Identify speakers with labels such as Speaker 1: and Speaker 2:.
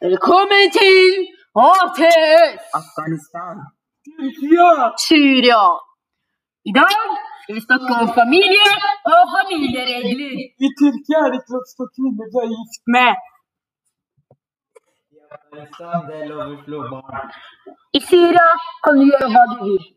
Speaker 1: Willkommen til HTS
Speaker 2: Afganistan. Türkiye.
Speaker 1: Syria. I dag skal vi snakke om familie og familieregler.
Speaker 2: I Türkiye harekatı kvinnor var gift med. I Afganistan det er lov å slå barn.
Speaker 1: I Syria kan du gjøre hva du vil.